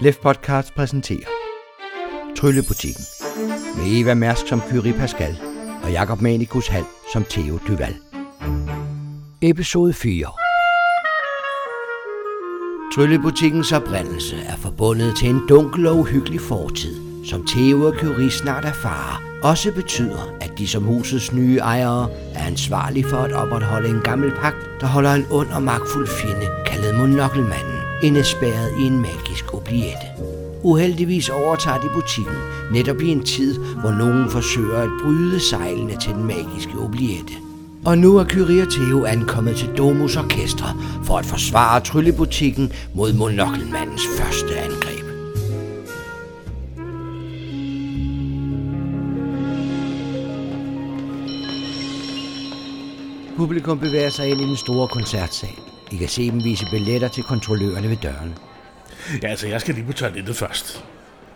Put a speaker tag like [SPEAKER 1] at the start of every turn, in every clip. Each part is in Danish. [SPEAKER 1] Lef Podcast præsenterer Tryllebutikken med Eva Mærsk som Kyrie Pascal og Jakob Manikus Hal som Theo Duval. Episode 4 Tryllebutikkens oprindelse er forbundet til en dunkel og uhyggelig fortid, som Theo og Curie snart erfarer, også betyder, at de som husets nye ejere er ansvarlige for at opretholde en gammel pagt, der holder en ond og magtfuld fjende, kaldet Monokkelmanden, indespærret i en magisk obliette. Uheldigvis overtager de butikken, netop i en tid, hvor nogen forsøger at bryde sejlene til den magiske obliette. Og nu er Kyrie og Theo ankommet til Domus Orkestre for at forsvare tryllebutikken mod monokkelmandens første angreb. Publikum bevæger sig ind i den store koncertsal. I kan se dem vise billetter til kontrollørerne ved dørene.
[SPEAKER 2] Ja, altså, jeg skal lige på toilettet først.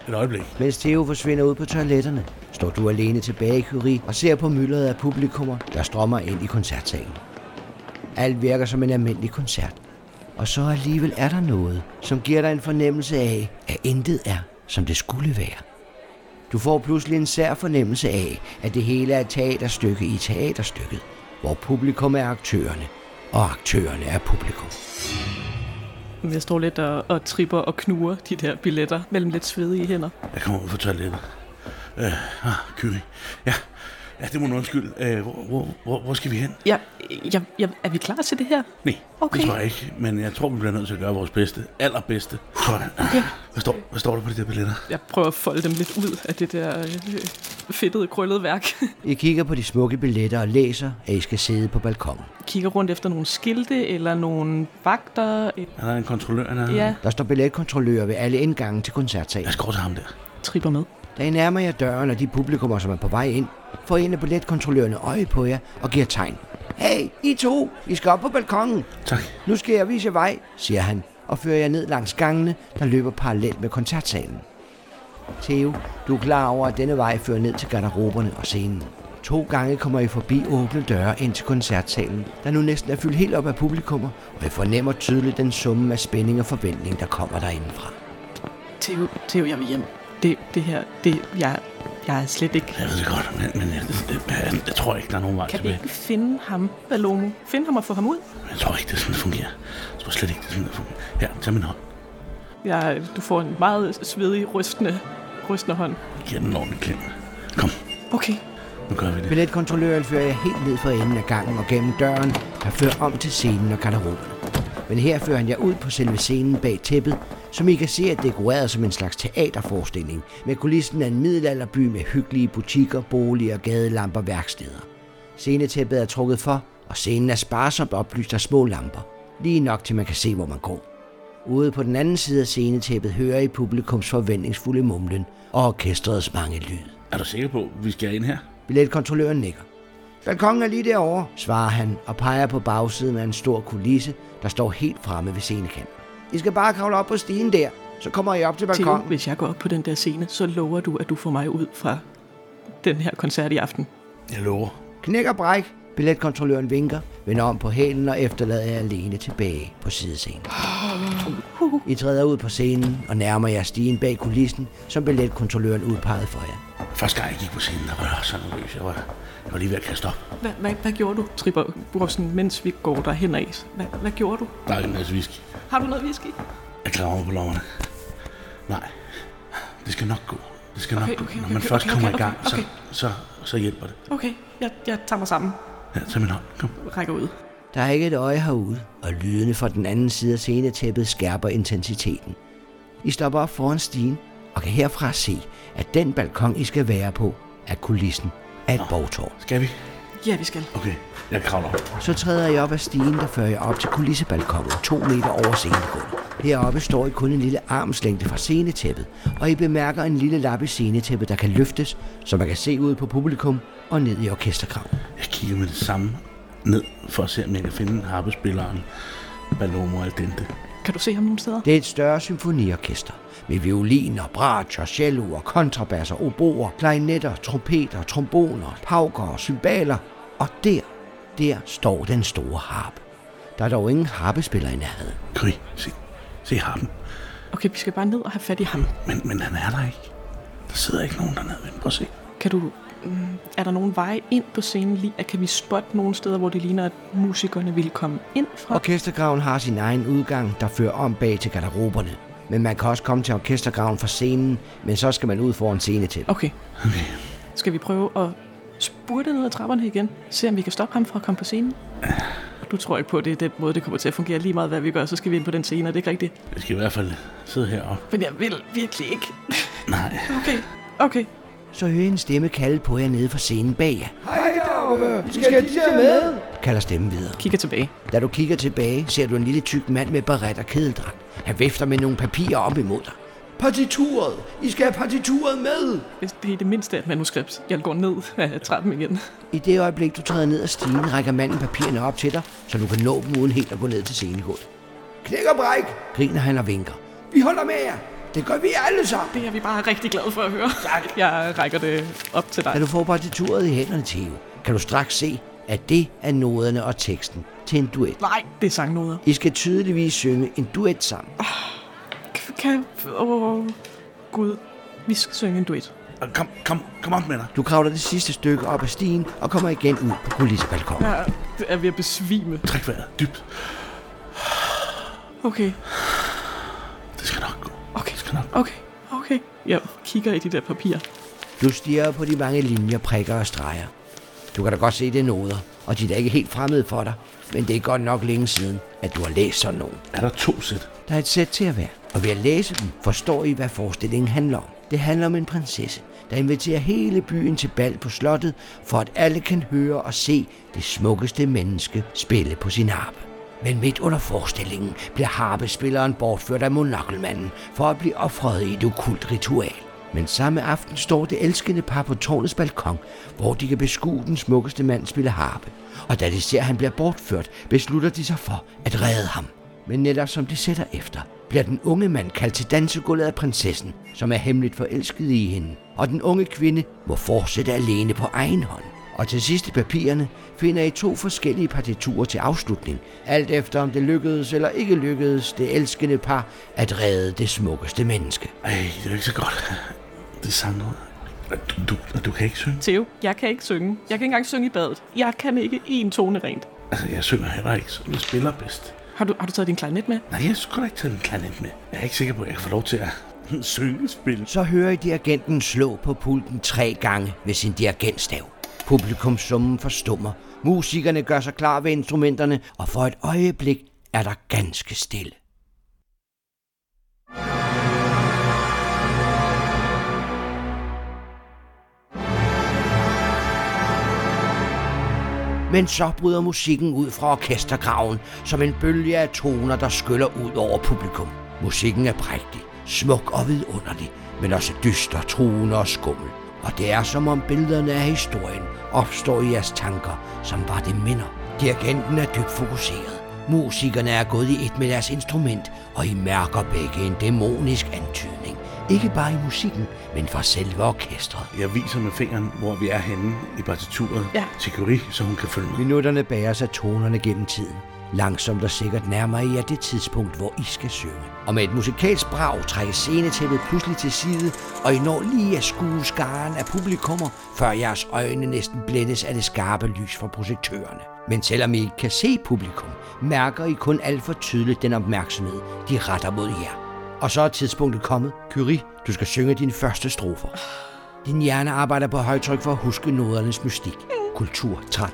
[SPEAKER 2] Et øjeblik.
[SPEAKER 1] Mens Theo forsvinder ud på toiletterne, står du alene tilbage i Curie og ser på myldret af publikummer, der strømmer ind i koncertsalen. Alt virker som en almindelig koncert. Og så alligevel er der noget, som giver dig en fornemmelse af, at intet er, som det skulle være. Du får pludselig en sær fornemmelse af, at det hele er et teaterstykke i teaterstykket, hvor publikum er aktørerne, og aktørerne er publikum.
[SPEAKER 3] Jeg står lidt og, og tripper og knuger de der billetter mellem lidt svedige hænder.
[SPEAKER 2] Jeg kommer ud på toilettet. Øh, ah, Kyri. Ja, ja, det må du undskylde. Øh, hvor, hvor, hvor, hvor skal vi hen?
[SPEAKER 3] Ja, ja, ja, er vi klar til det her?
[SPEAKER 2] Nej,
[SPEAKER 3] Okay.
[SPEAKER 2] det tror jeg ikke. Men jeg tror, vi bliver nødt til at gøre vores bedste. Allerbedste. Sådan. Okay. Hvad, står, hvad står der på de der billetter?
[SPEAKER 3] Jeg prøver at folde dem lidt ud af det der øh, fedtede, krøllede værk.
[SPEAKER 1] I kigger på de smukke billetter og læser, at I skal sidde på balkonen.
[SPEAKER 3] Kigger rundt efter nogle skilte eller nogle vagter. øh,
[SPEAKER 2] Er der en kontrollør? Er der...
[SPEAKER 3] Ja,
[SPEAKER 1] Der står billetkontrollører ved alle indgange til koncertsalen.
[SPEAKER 2] Jeg skal over til ham der.
[SPEAKER 3] tripper med.
[SPEAKER 1] Da I nærmer jer døren og de publikummer, som er på vej ind, får en af billetkontrollørerne øje på jer og giver tegn. Hey, I to! I skal op på balkongen!
[SPEAKER 2] Tak.
[SPEAKER 1] Nu skal jeg vise jer vej, siger han, og fører jer ned langs gangene, der løber parallelt med koncertsalen. Theo, du er klar over, at denne vej fører ned til garderoberne og scenen. To gange kommer I forbi åbne døre ind til koncertsalen, der nu næsten er fyldt helt op af publikummer, og I fornemmer tydeligt den summe af spænding og forventning, der kommer derindefra.
[SPEAKER 3] Theo, Theo jeg vil hjem. Det, det her, det, jeg, jeg er slet ikke...
[SPEAKER 2] Jeg ved det godt, men, men jeg, jeg, jeg, jeg, tror ikke, der er nogen vej
[SPEAKER 3] Kan vi
[SPEAKER 2] tilbage.
[SPEAKER 3] ikke finde ham, Valomo? Finde ham og få ham ud?
[SPEAKER 2] Jeg tror ikke, det er sådan, det fungerer. Jeg tror slet ikke, det er sådan, det fungerer. Her, tag min hånd.
[SPEAKER 3] Jeg, du får en meget svedig, rystende, rystende hånd.
[SPEAKER 2] Giv den en ordentlig klem. Kom,
[SPEAKER 3] Okay,
[SPEAKER 2] nu gør vi det.
[SPEAKER 1] Billetkontrolløren fører jer helt ned for enden af gangen og gennem døren, der fører om til scenen og garderoben. Men her fører han jer ud på selve scenen bag tæppet, som I kan se er dekoreret som en slags teaterforestilling, med kulissen af en middelalderby med hyggelige butikker, boliger, gadelamper og værksteder. Scenetæppet er trukket for, og scenen er sparsomt oplyst af små lamper. Lige nok til man kan se, hvor man går. Ude på den anden side af scenetæppet hører I publikums forventningsfulde mumlen og orkestrets mange lyd.
[SPEAKER 2] Er du sikker på, at vi skal ind her?
[SPEAKER 1] Billetkontrolløren nikker. Balkongen er lige derovre, svarer han og peger på bagsiden af en stor kulisse, der står helt fremme ved scenekanten. I skal bare kravle op på stigen der, så kommer I op til
[SPEAKER 3] Theo,
[SPEAKER 1] balkongen.
[SPEAKER 3] hvis jeg går op på den der scene, så lover du, at du får mig ud fra den her koncert i aften.
[SPEAKER 2] Jeg lover.
[SPEAKER 1] Knæk og bræk. Billetkontrolløren vinker, vender om på hælen og efterlader jer alene tilbage på sidescenen. I træder ud på scenen og nærmer jer stigen bag kulissen, som billetkontrolløren udpegede for jer.
[SPEAKER 2] Første gang jeg gik på scenen, der var jeg så nervøs. Jeg var, jeg var lige ved at kaste op.
[SPEAKER 3] Hvad, hvad, hvad gjorde du? Tripper Brossen, mens vi går derhen af. Hvad, hvad gjorde du?
[SPEAKER 2] Der er ikke en masse whisky.
[SPEAKER 3] Har du noget whisky?
[SPEAKER 2] Jeg klarer mig på lommerne. Nej, det skal nok gå. Det skal nok
[SPEAKER 3] Okay,
[SPEAKER 2] gå.
[SPEAKER 3] okay,
[SPEAKER 2] Når
[SPEAKER 3] okay,
[SPEAKER 2] man
[SPEAKER 3] okay,
[SPEAKER 2] først
[SPEAKER 3] okay,
[SPEAKER 2] kommer
[SPEAKER 3] okay,
[SPEAKER 2] i gang,
[SPEAKER 3] okay, okay.
[SPEAKER 2] Så, så, så hjælper det.
[SPEAKER 3] Okay, jeg, jeg tager mig sammen.
[SPEAKER 2] Ja, tag min hånd. Kom.
[SPEAKER 3] Rækker ud.
[SPEAKER 1] Der er ikke et øje herude, og lydene fra den anden side af scenetæppet skærper intensiteten. I stopper op foran stigen, og kan herfra se, at den balkon, I skal være på, er kulissen af et borgtårn.
[SPEAKER 2] Skal vi?
[SPEAKER 3] Ja, vi skal.
[SPEAKER 2] Okay, jeg kravler op.
[SPEAKER 1] Så træder jeg op af stigen, der fører jeg op til kulissebalkongen, to meter over scenegulvet. Heroppe står I kun en lille armslængde fra scenetæppet, og I bemærker en lille lap i scenetæppet, der kan løftes, så man kan se ud på publikum og ned i orkesterkraven.
[SPEAKER 2] Jeg kigger med det samme ned, for at se, om jeg kan finde harpespilleren Balomo Al Dente.
[SPEAKER 3] Kan du se ham nogle steder?
[SPEAKER 1] Det er et større symfoniorkester med violiner, bratcher, celloer, kontrabasser, oboer, klarinetter, trompeter, tromboner, pauker og cymbaler. Og der, der står den store harp. Der er dog ingen harpespiller i nærheden.
[SPEAKER 2] Kry, se, se harpen.
[SPEAKER 3] Okay, vi skal bare ned og have fat i ham.
[SPEAKER 2] Men, men han er der ikke. Der sidder ikke nogen dernede. Men prøv at se.
[SPEAKER 3] Kan du... mm, Er der nogen veje ind på scenen lige? At kan vi spotte nogle steder, hvor det ligner, at musikerne vil komme ind fra?
[SPEAKER 1] Orkestergraven har sin egen udgang, der fører om bag til garderoberne. Men man kan også komme til orkestergraven fra scenen, men så skal man ud foran scene til.
[SPEAKER 3] Okay. Skal vi prøve at spurte ned ad trapperne igen? Se om vi kan stoppe ham fra at komme på scenen? Du tror ikke på, at det er den måde, det kommer til at fungere lige meget, hvad vi gør, så skal vi ind på den scene, og det er ikke rigtigt.
[SPEAKER 2] Jeg skal i hvert fald sidde heroppe.
[SPEAKER 3] Men jeg vil virkelig ikke.
[SPEAKER 2] Nej.
[SPEAKER 3] Okay, okay.
[SPEAKER 1] Så hører I en stemme kalde på jer nede fra scenen bag jer,
[SPEAKER 4] Hej deroppe! Skal de der med?
[SPEAKER 1] kalder stemmen videre.
[SPEAKER 3] Kigger tilbage.
[SPEAKER 1] Da du kigger tilbage, ser du en lille tyk mand med baret og kedeldragt. Han vifter med nogle papirer op imod dig.
[SPEAKER 4] Partituret! I skal have partituret med!
[SPEAKER 3] Hvis det er det mindste af et manuskript, jeg går ned af trappen igen.
[SPEAKER 1] I det øjeblik, du træder ned ad stigen, rækker manden papirerne op til dig, så du kan nå dem uden helt at gå ned til scenegulvet.
[SPEAKER 4] Knæk og bræk!
[SPEAKER 1] Griner han og vinker.
[SPEAKER 4] Vi holder med jer! Det gør vi alle sammen!
[SPEAKER 3] Det er vi bare rigtig glade for at høre. Tak. Jeg rækker det op til
[SPEAKER 1] Da
[SPEAKER 3] dig.
[SPEAKER 1] du får partituret i hænderne til Eve, kan du straks se, at det er noderne og teksten til en duet.
[SPEAKER 3] Nej, det er sangnoder.
[SPEAKER 1] I skal tydeligvis synge en duet sammen.
[SPEAKER 3] Kan- Kan... Åh, Gud. Vi skal synge en duet.
[SPEAKER 2] Og Kom, kom, kom op med dig.
[SPEAKER 1] Du kravler det sidste stykke op ad stigen og kommer igen ud på kulissebalkonen.
[SPEAKER 3] Jeg er ved at besvime.
[SPEAKER 2] Træk vejret dybt.
[SPEAKER 3] Okay,
[SPEAKER 2] Det skal nok gå.
[SPEAKER 3] okay,
[SPEAKER 2] Det skal nok gå.
[SPEAKER 3] okay, okay. Jeg kigger i de der papirer.
[SPEAKER 1] Du stiger på de mange linjer, prikker og streger. Du kan da godt se, det er noder, og de er da ikke helt fremmede for dig. Men det er godt nok længe siden, at du har læst sådan nogen.
[SPEAKER 2] Er der to sæt?
[SPEAKER 1] Der er et sæt til at være, og ved at læse dem, forstår I, hvad forestillingen handler om. Det handler om en prinsesse, der inviterer hele byen til bal på slottet, for at alle kan høre og se det smukkeste menneske spille på sin harpe. Men midt under forestillingen bliver harpespilleren bortført af monokkelmanden for at blive offret i et okult ritual. Men samme aften står det elskende par på tårnets balkon, hvor de kan beskue den smukkeste mand spille harpe. Og da de ser, at han bliver bortført, beslutter de sig for at redde ham. Men netop som de sætter efter, bliver den unge mand kaldt til dansegulvet af prinsessen, som er hemmeligt forelsket i hende, og den unge kvinde må fortsætte alene på egen hånd. Og til sidst i papirerne finder I to forskellige partiturer til afslutning, alt efter om det lykkedes eller ikke lykkedes det elskende par at redde det smukkeste menneske.
[SPEAKER 2] Ej, det er jo ikke så godt. Det er sangnoder. Du, du, du kan ikke synge?
[SPEAKER 3] Theo, jeg kan ikke synge. Jeg kan ikke engang synge i badet. Jeg kan ikke én tone rent.
[SPEAKER 2] Altså, jeg synger heller ikke, så du spiller bedst.
[SPEAKER 3] Har du, har du taget din klarinet med?
[SPEAKER 2] Nej, jeg skulle da ikke tage den klarinet med. Jeg er ikke sikker på, at jeg kan få lov til at synge spil.
[SPEAKER 1] Så hører I dirigenten slå på pulten tre gange med sin dirigentstav. Publikumsummen forstummer, musikerne gør sig klar ved instrumenterne, og for et øjeblik er der ganske stille. Men så bryder musikken ud fra orkestergraven, som en bølge af toner, der skyller ud over publikum. Musikken er prægtig, smuk og vidunderlig, men også dyster, truende og skummel. Og det er som om billederne af historien opstår i jeres tanker, som var det minder. Dirigenten er dybt fokuseret. Musikerne er gået i et med deres instrument, og I mærker begge en dæmonisk antydning. Ikke bare i musikken, men fra selve orkestret.
[SPEAKER 2] Jeg viser med fingeren, hvor vi er henne i partituret
[SPEAKER 3] Ja.
[SPEAKER 2] til Curie, så hun kan følge med.
[SPEAKER 1] Minutterne bæres af tonerne gennem tiden. Langsomt og sikkert nærmer I jer det tidspunkt, hvor I skal synge. Og med et musikalsk brag trækkes scenetæppet pludselig til side, og I når lige at skue skaren af publikummer, før jeres øjne næsten blændes af det skarpe lys fra projektørerne. Men selvom I ikke kan se publikum, mærker I kun alt for tydeligt den opmærksomhed, de retter mod jer. Og så er tidspunktet kommet. Curie, du skal synge dine første strofer. Din hjerne arbejder på højtryk for at huske nodernes mystik, kultur, trang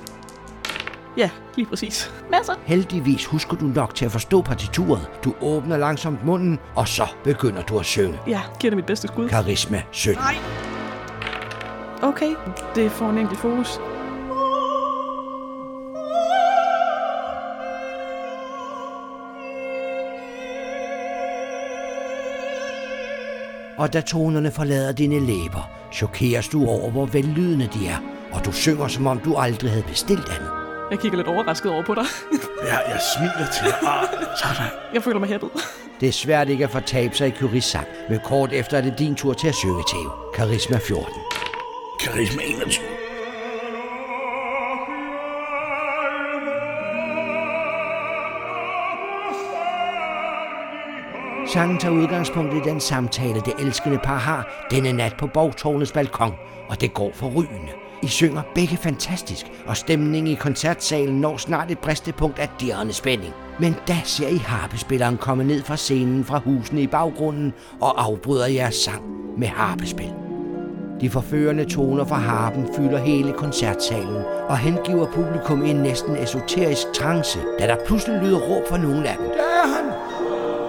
[SPEAKER 3] Ja, lige præcis. Masser.
[SPEAKER 1] Heldigvis husker du nok til at forstå partituret. Du åbner langsomt munden, og så begynder du at synge.
[SPEAKER 3] Ja, giver det mit bedste skud.
[SPEAKER 1] Karisma 17.
[SPEAKER 3] Okay, det får en enkelt fokus.
[SPEAKER 1] Og da tonerne forlader dine læber, chokeres du over, hvor vellydende de er. Og du synger, som om du aldrig havde bestilt andet.
[SPEAKER 3] Jeg kigger lidt overrasket over på dig.
[SPEAKER 2] Jeg, jeg smiler til dig. Ah, sådan.
[SPEAKER 3] Jeg føler mig hæppet.
[SPEAKER 1] Det er svært ikke at fortabe sig i Curies sang, men kort efter er det din tur til at synge, Theo. Karisma 14.
[SPEAKER 2] Karisma 21.
[SPEAKER 1] Sangen tager udgangspunkt i den samtale, det elskende par har denne nat på Borgtårnets balkon, og det går forrygende. I synger begge fantastisk, og stemningen i koncertsalen når snart et bristepunkt af dirrende spænding. Men da ser I harpespilleren komme ned fra scenen fra husene i baggrunden og afbryder jeres sang med harpespil. De forførende toner fra harpen fylder hele koncertsalen og hengiver publikum i en næsten esoterisk trance, da der pludselig lyder råb fra nogle af dem.
[SPEAKER 4] Der er han!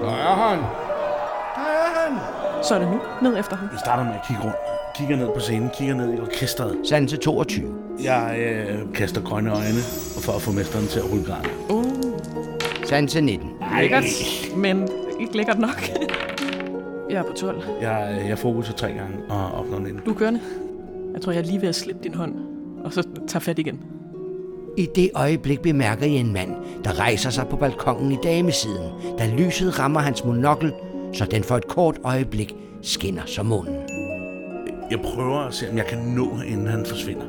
[SPEAKER 5] Der er han.
[SPEAKER 4] Der er han!
[SPEAKER 3] Så er det nu, ned efter ham.
[SPEAKER 2] Jeg starter med at kigge rundt. Kigger ned på scenen, kigger ned i orkestret.
[SPEAKER 1] Sanse 22.
[SPEAKER 2] Jeg øh, kaster grønne øjne for at få mesteren til at rulle garn.
[SPEAKER 1] Sanse 19.
[SPEAKER 3] Lækkert, men ikke lækkert nok. Jeg er på 12.
[SPEAKER 2] Jeg, øh, jeg fokuser tre gange og opnår den.
[SPEAKER 3] Du er kørende. Jeg tror, jeg er lige ved at slippe din hånd, og så tager fat igen.
[SPEAKER 1] I det øjeblik bemærker I en mand, der rejser sig på balkongen i damesiden, da lyset rammer hans monokkel, så den for et kort øjeblik skinner som munden.
[SPEAKER 2] Jeg prøver at se, om jeg kan nå, inden han forsvinder.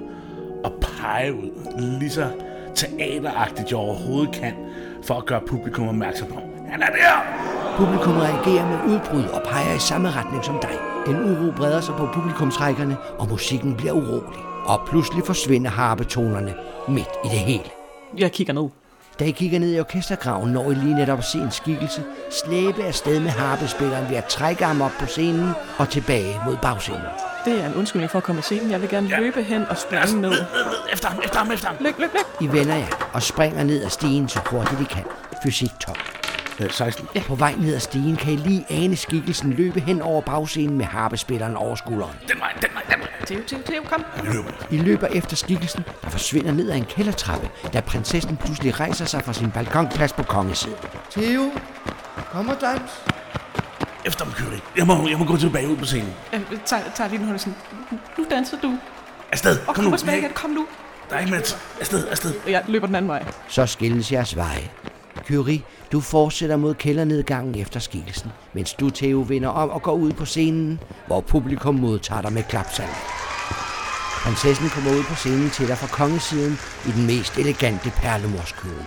[SPEAKER 2] Og pege ud, lige så teateragtigt jeg overhovedet kan, for at gøre publikum opmærksom på. Han er der!
[SPEAKER 1] Publikum reagerer med udbrud og peger i samme retning som dig. En uro breder sig på publikumsrækkerne, og musikken bliver urolig. Og pludselig forsvinder harpetonerne midt i det hele.
[SPEAKER 3] Jeg kigger ned.
[SPEAKER 1] Da I kigger ned i orkestergraven, når I lige netop at se en skikkelse, slæbe afsted med harpespilleren ved at trække ham op på scenen og tilbage mod bagscenen.
[SPEAKER 3] Det er en undskyldning for at komme i scenen. Jeg vil gerne ja. løbe hen og springe ned.
[SPEAKER 2] Efter ham, efter ham, efter ham!
[SPEAKER 3] Løb, løb, løb.
[SPEAKER 1] I vender jer og springer ned ad stigen så hurtigt I kan. Fysik 12.
[SPEAKER 2] Øh, 16.
[SPEAKER 1] På vej ned ad stigen kan I lige ane skikkelsen løbe hen over bagscenen med harpespilleren over skulderen.
[SPEAKER 2] Den vej, den vej, den vej!
[SPEAKER 3] Tiv, tiv, tiv, kom.
[SPEAKER 2] Jeg løber.
[SPEAKER 1] I løber efter skikkelsen, der forsvinder ned ad en kældertrappe, da prinsessen pludselig rejser sig fra sin balkonplads på kongesiden.
[SPEAKER 4] Theo, kom og dans.
[SPEAKER 2] Efter ham, Kyrie. Jeg må, jeg må gå tilbage ud på scenen.
[SPEAKER 3] Jeg Øh, tager, tager lige den hånd og sådan, nu danser du.
[SPEAKER 2] Afsted,
[SPEAKER 3] Og
[SPEAKER 2] kom
[SPEAKER 3] kom
[SPEAKER 2] nu.
[SPEAKER 3] og tilbage igen, kom nu.
[SPEAKER 2] Der er ikke mere tid. Afsted, afsted.
[SPEAKER 3] Jeg løber den anden vej.
[SPEAKER 1] Så skilles jeres veje. Kyrie, du fortsætter mod kældernedgangen efter skikkelsen, mens du, Theo, vender om og går ud på scenen, hvor publikum modtager dig med klapsalver. Prinsessen kommer ud på scenen til dig fra kongesiden i den mest elegante perlemorskjole.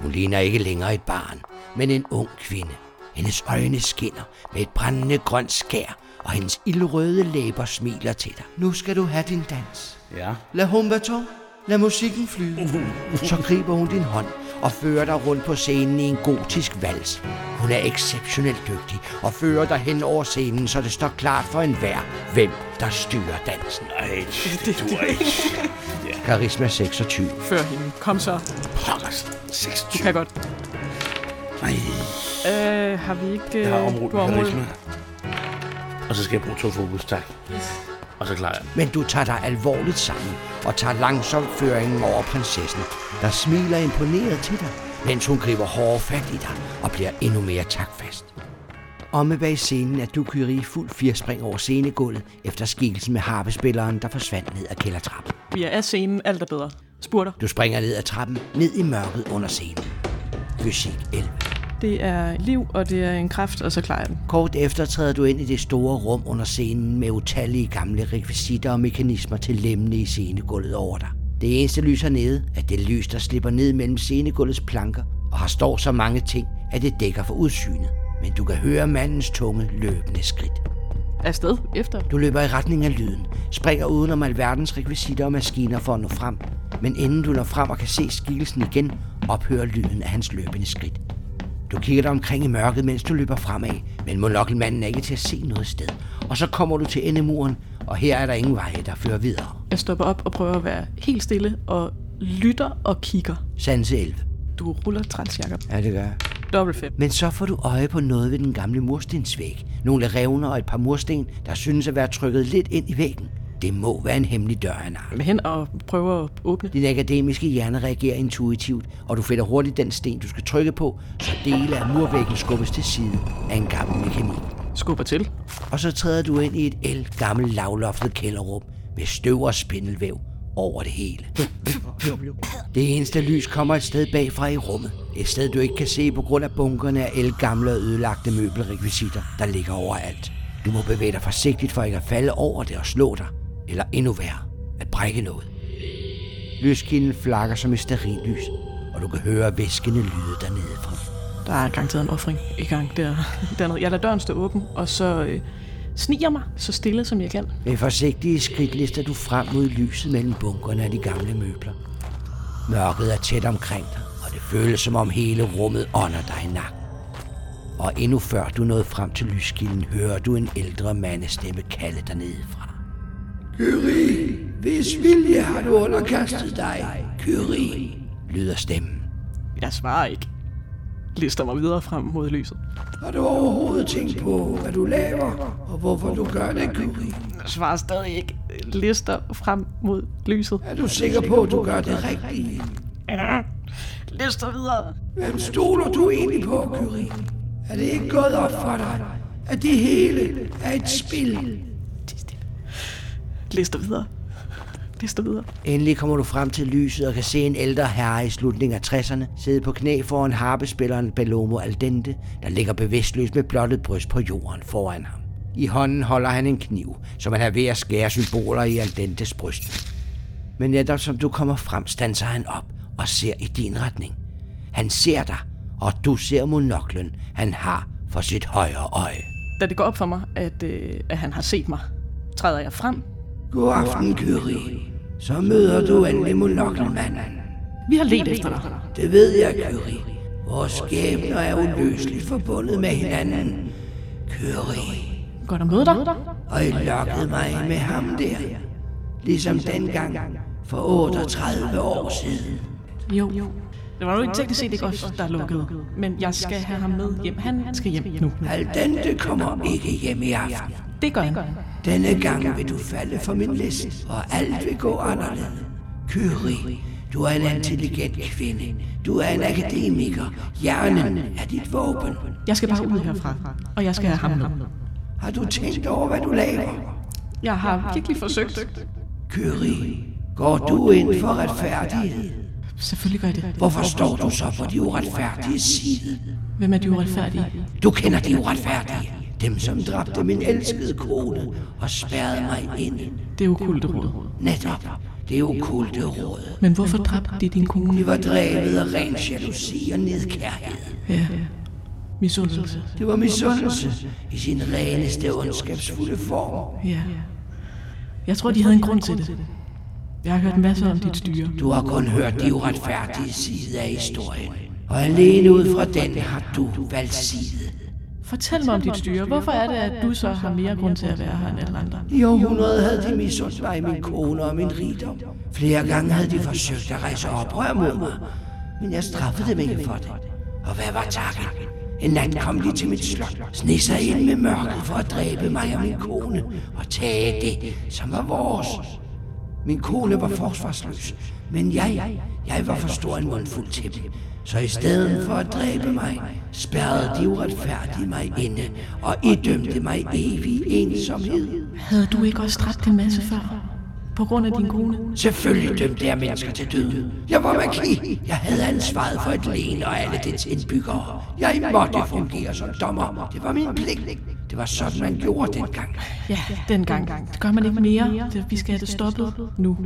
[SPEAKER 1] Hun ligner ikke længere et barn, men en ung kvinde. Hendes øjne skinner med et brændende grønt skær, og hendes ildrøde læber smiler til dig. Nu skal du have din dans.
[SPEAKER 2] Ja.
[SPEAKER 1] Lad humbaton, lad musikken flyde. Så griber hun din hånd og fører dig rundt på scenen i en gotisk vals. Hun er exceptionelt dygtig og fører dig hen over scenen, så det står klart for enhver, hvem der styrer dansen.
[SPEAKER 2] Ej, det duer ikke.
[SPEAKER 1] Karisma 26.
[SPEAKER 3] Før hende. Kom så.
[SPEAKER 2] Pokkers.
[SPEAKER 3] Du
[SPEAKER 2] 26.
[SPEAKER 3] kan godt.
[SPEAKER 2] Nej,
[SPEAKER 3] Øh, har vi ikke...
[SPEAKER 2] jeg har
[SPEAKER 3] øh,
[SPEAKER 2] området
[SPEAKER 3] du har
[SPEAKER 2] med
[SPEAKER 3] området.
[SPEAKER 2] karisma. Og så skal jeg bruge to fokus, tak. Og så klarer jeg. den.
[SPEAKER 1] Men du tager dig alvorligt sammen og tager langsomt føringen over prinsessen, der smiler imponeret til dig, mens hun griber hårdere fat i dig og bliver endnu mere takfast. Omme bag scenen er du Curie i fuld firspring over scenegulvet efter skikkelsen med harpespilleren, der forsvandt ned ad kældertrappen.
[SPEAKER 3] Vi er af scenen, alt er bedre. Spurter.
[SPEAKER 1] Du springer ned ad trappen, ned i mørket under scenen. Fysik 11.
[SPEAKER 3] Det er liv, og det er en kraft, og så klarer jeg den.
[SPEAKER 1] Kort efter træder du ind i det store rum under scenen med utallige gamle rekvisitter og mekanismer til lemmene i scenegulvet over dig. Det eneste lys hernede er det lys, der slipper ned mellem scenegulvets planker, og har står så mange ting, at det dækker for udsynet. Men du kan høre mandens tunge løbende skridt.
[SPEAKER 3] Afsted efter.
[SPEAKER 1] Du løber i retning af lyden, springer udenom alverdens rekvisitter og maskiner for at nå frem. Men inden du når frem og kan se skikkelsen igen, ophører lyden af hans løbende skridt. Du kigger dig omkring i mørket, mens du løber fremad, men monokkelmanden er ikke til at se noget sted. Og så kommer du til endemuren, og her er der ingen veje, der fører videre.
[SPEAKER 3] Jeg stopper op og prøver at være helt stille, og lytter og kigger.
[SPEAKER 1] Sanse 11.
[SPEAKER 3] Du ruller træls, Jacob.
[SPEAKER 1] Ja, det gør jeg.
[SPEAKER 3] Dobbelt fem.
[SPEAKER 1] Men så får du øje på noget ved den gamle murstensvæg. Nogle revner og et par mursten, der synes at være trykket lidt ind i væggen. Det må være en hemmelig dør af en art.
[SPEAKER 3] Vil hen og prøver at åbne.
[SPEAKER 1] Din akademiske hjerne reagerer intuitivt, og du finder hurtigt den sten, du skal trykke på, så dele af murvæggen skubbes til side af en gammel mekanik.
[SPEAKER 3] Skubber til.
[SPEAKER 1] Og så træder du ind i et el gammelt lavloftet kælderrum med støv og spindelvæv over det hele. Det eneste lys kommer et sted bagfra i rummet. Et sted, du ikke kan se på grund af bunkerne af elgamle og ødelagte møbelrekvisitter, der ligger overalt. Du må bevæge dig forsigtigt for ikke at falde over det og slå dig. Eller endnu værre, at brække noget. Lyskilden flakker som et stearinlys, og du kan høre væskende lyde dernede fra.
[SPEAKER 3] Der er garanteret en offring i gang der, dernede. Jeg lader døren stå åben, og så øh, sniger mig så stille, som jeg kan.
[SPEAKER 1] Med forsigtige skridt lister du frem mod lyset mellem bunkerne af de gamle møbler. Mørket er tæt omkring dig, og det føles som om hele rummet ånder dig i nakken. Og endnu før du nåede frem til lyskilden, hører du en ældre mandestemme kalde dig nedefra. Kyrie, hvis vilje har du underkastet dig. Kyrie, lyder stemmen.
[SPEAKER 3] Jeg svarer ikke. Lister mig videre frem mod lyset.
[SPEAKER 1] Har du overhovedet tænkt på, hvad du laver, og hvorfor du gør det, Kyrie?
[SPEAKER 3] Jeg svarer stadig ikke. Lister frem mod lyset.
[SPEAKER 1] Er du sikker på, at du gør det rigtige?
[SPEAKER 3] Lister videre.
[SPEAKER 1] Hvem stoler du egentlig på, Kyrie? Er det ikke gået op for dig, at det hele er et spil?
[SPEAKER 3] Lister videre. Lister videre.
[SPEAKER 1] Endelig kommer du frem til lyset og kan se en ældre herre i slutningen af 60'erne sidde på knæ foran harpespilleren Bellomo Aldente, der ligger bevidstløs med blottet bryst på jorden foran ham. I hånden holder han en kniv, som han er ved at skære symboler i Aldentes bryst. Men netop som du kommer frem, standser han op og ser i din retning. Han ser dig, og du ser monoklen, han har for sit højre øje.
[SPEAKER 3] Da det går op for mig, at, øh, at han har set mig, træder jeg frem.
[SPEAKER 1] God aften, Kyrie. Så møder du endelig monokelmanden.
[SPEAKER 3] Vi har let efter dig.
[SPEAKER 1] Det ved jeg, Kyrie. Vores skæbner er uløseligt forbundet med hinanden. Kyrie.
[SPEAKER 3] Godt at møde dig.
[SPEAKER 1] Og I lokkede mig med ham der. Ligesom dengang for 38 år siden.
[SPEAKER 3] Jo. jo. Det var nu ikke teknisk set ikke os, der lukkede. Men jeg skal have ham med hjem. Han skal hjem nu.
[SPEAKER 1] Aldente kommer ikke hjem i aften.
[SPEAKER 3] Det gør han.
[SPEAKER 1] Denne gang vil du falde for min list, og alt vil gå anderledes. Kyrie, du er en intelligent kvinde. Du er en akademiker. Hjernen er dit våben.
[SPEAKER 3] Jeg skal bare ud herfra, og jeg skal have ham med.
[SPEAKER 1] Har du tænkt over, hvad du laver?
[SPEAKER 3] Jeg har virkelig forsøgt.
[SPEAKER 1] Kyrie, går du ind for retfærdighed?
[SPEAKER 3] Selvfølgelig gør jeg det.
[SPEAKER 1] Hvorfor står du så på de uretfærdige side?
[SPEAKER 3] Hvem er de uretfærdige?
[SPEAKER 1] Du kender de uretfærdige. Dem, som dræbte min elskede kone og spærrede mig inde.
[SPEAKER 3] Det er okulte råd.
[SPEAKER 1] Netop det okulte råd.
[SPEAKER 3] Men hvorfor dræbte de din kone?
[SPEAKER 1] Vi var drevet af ren jalousi og nedkærhed.
[SPEAKER 3] Ja. Misundelse.
[SPEAKER 1] Det var misundelse i sin reneste ondskabsfulde form.
[SPEAKER 3] Ja. Jeg tror, de havde en grund til det. Jeg har hørt masser om dit styre.
[SPEAKER 1] Du har kun hørt de uretfærdige side af historien. Og alene ud fra den har du valgt side.
[SPEAKER 3] Fortæl mig om dit styre. Hvorfor er det, at du så har mere grund til at være her end alle andre?
[SPEAKER 1] I århundrede havde de misundt mig min kone og min rigdom. Flere gange havde de forsøgt at rejse oprør mod mig, men jeg straffede dem ikke for det. Og hvad var takken? En nat kom de til mit slot, sneg sig ind med mørket for at dræbe mig og min kone og tage det, som var vores. Min kone var forsvarsløs, men jeg, jeg var for stor en mundfuld til dem. Så i stedet for at dræbe mig, spærrede de uretfærdige mig inde og idømte mig evig ensomhed.
[SPEAKER 3] Havde du ikke også dræbt en masse før? På grund af din kone?
[SPEAKER 1] Selvfølgelig dømte jeg mennesker til døden. Jeg var magi. Jeg havde ansvaret for et len og alle dets indbyggere. Jeg måtte fungere som dommer. Det var min pligt. Det var sådan, man gjorde dengang.
[SPEAKER 3] Ja, dengang. Det gør man ikke mere. Det- Vi skal have det stoppet nu.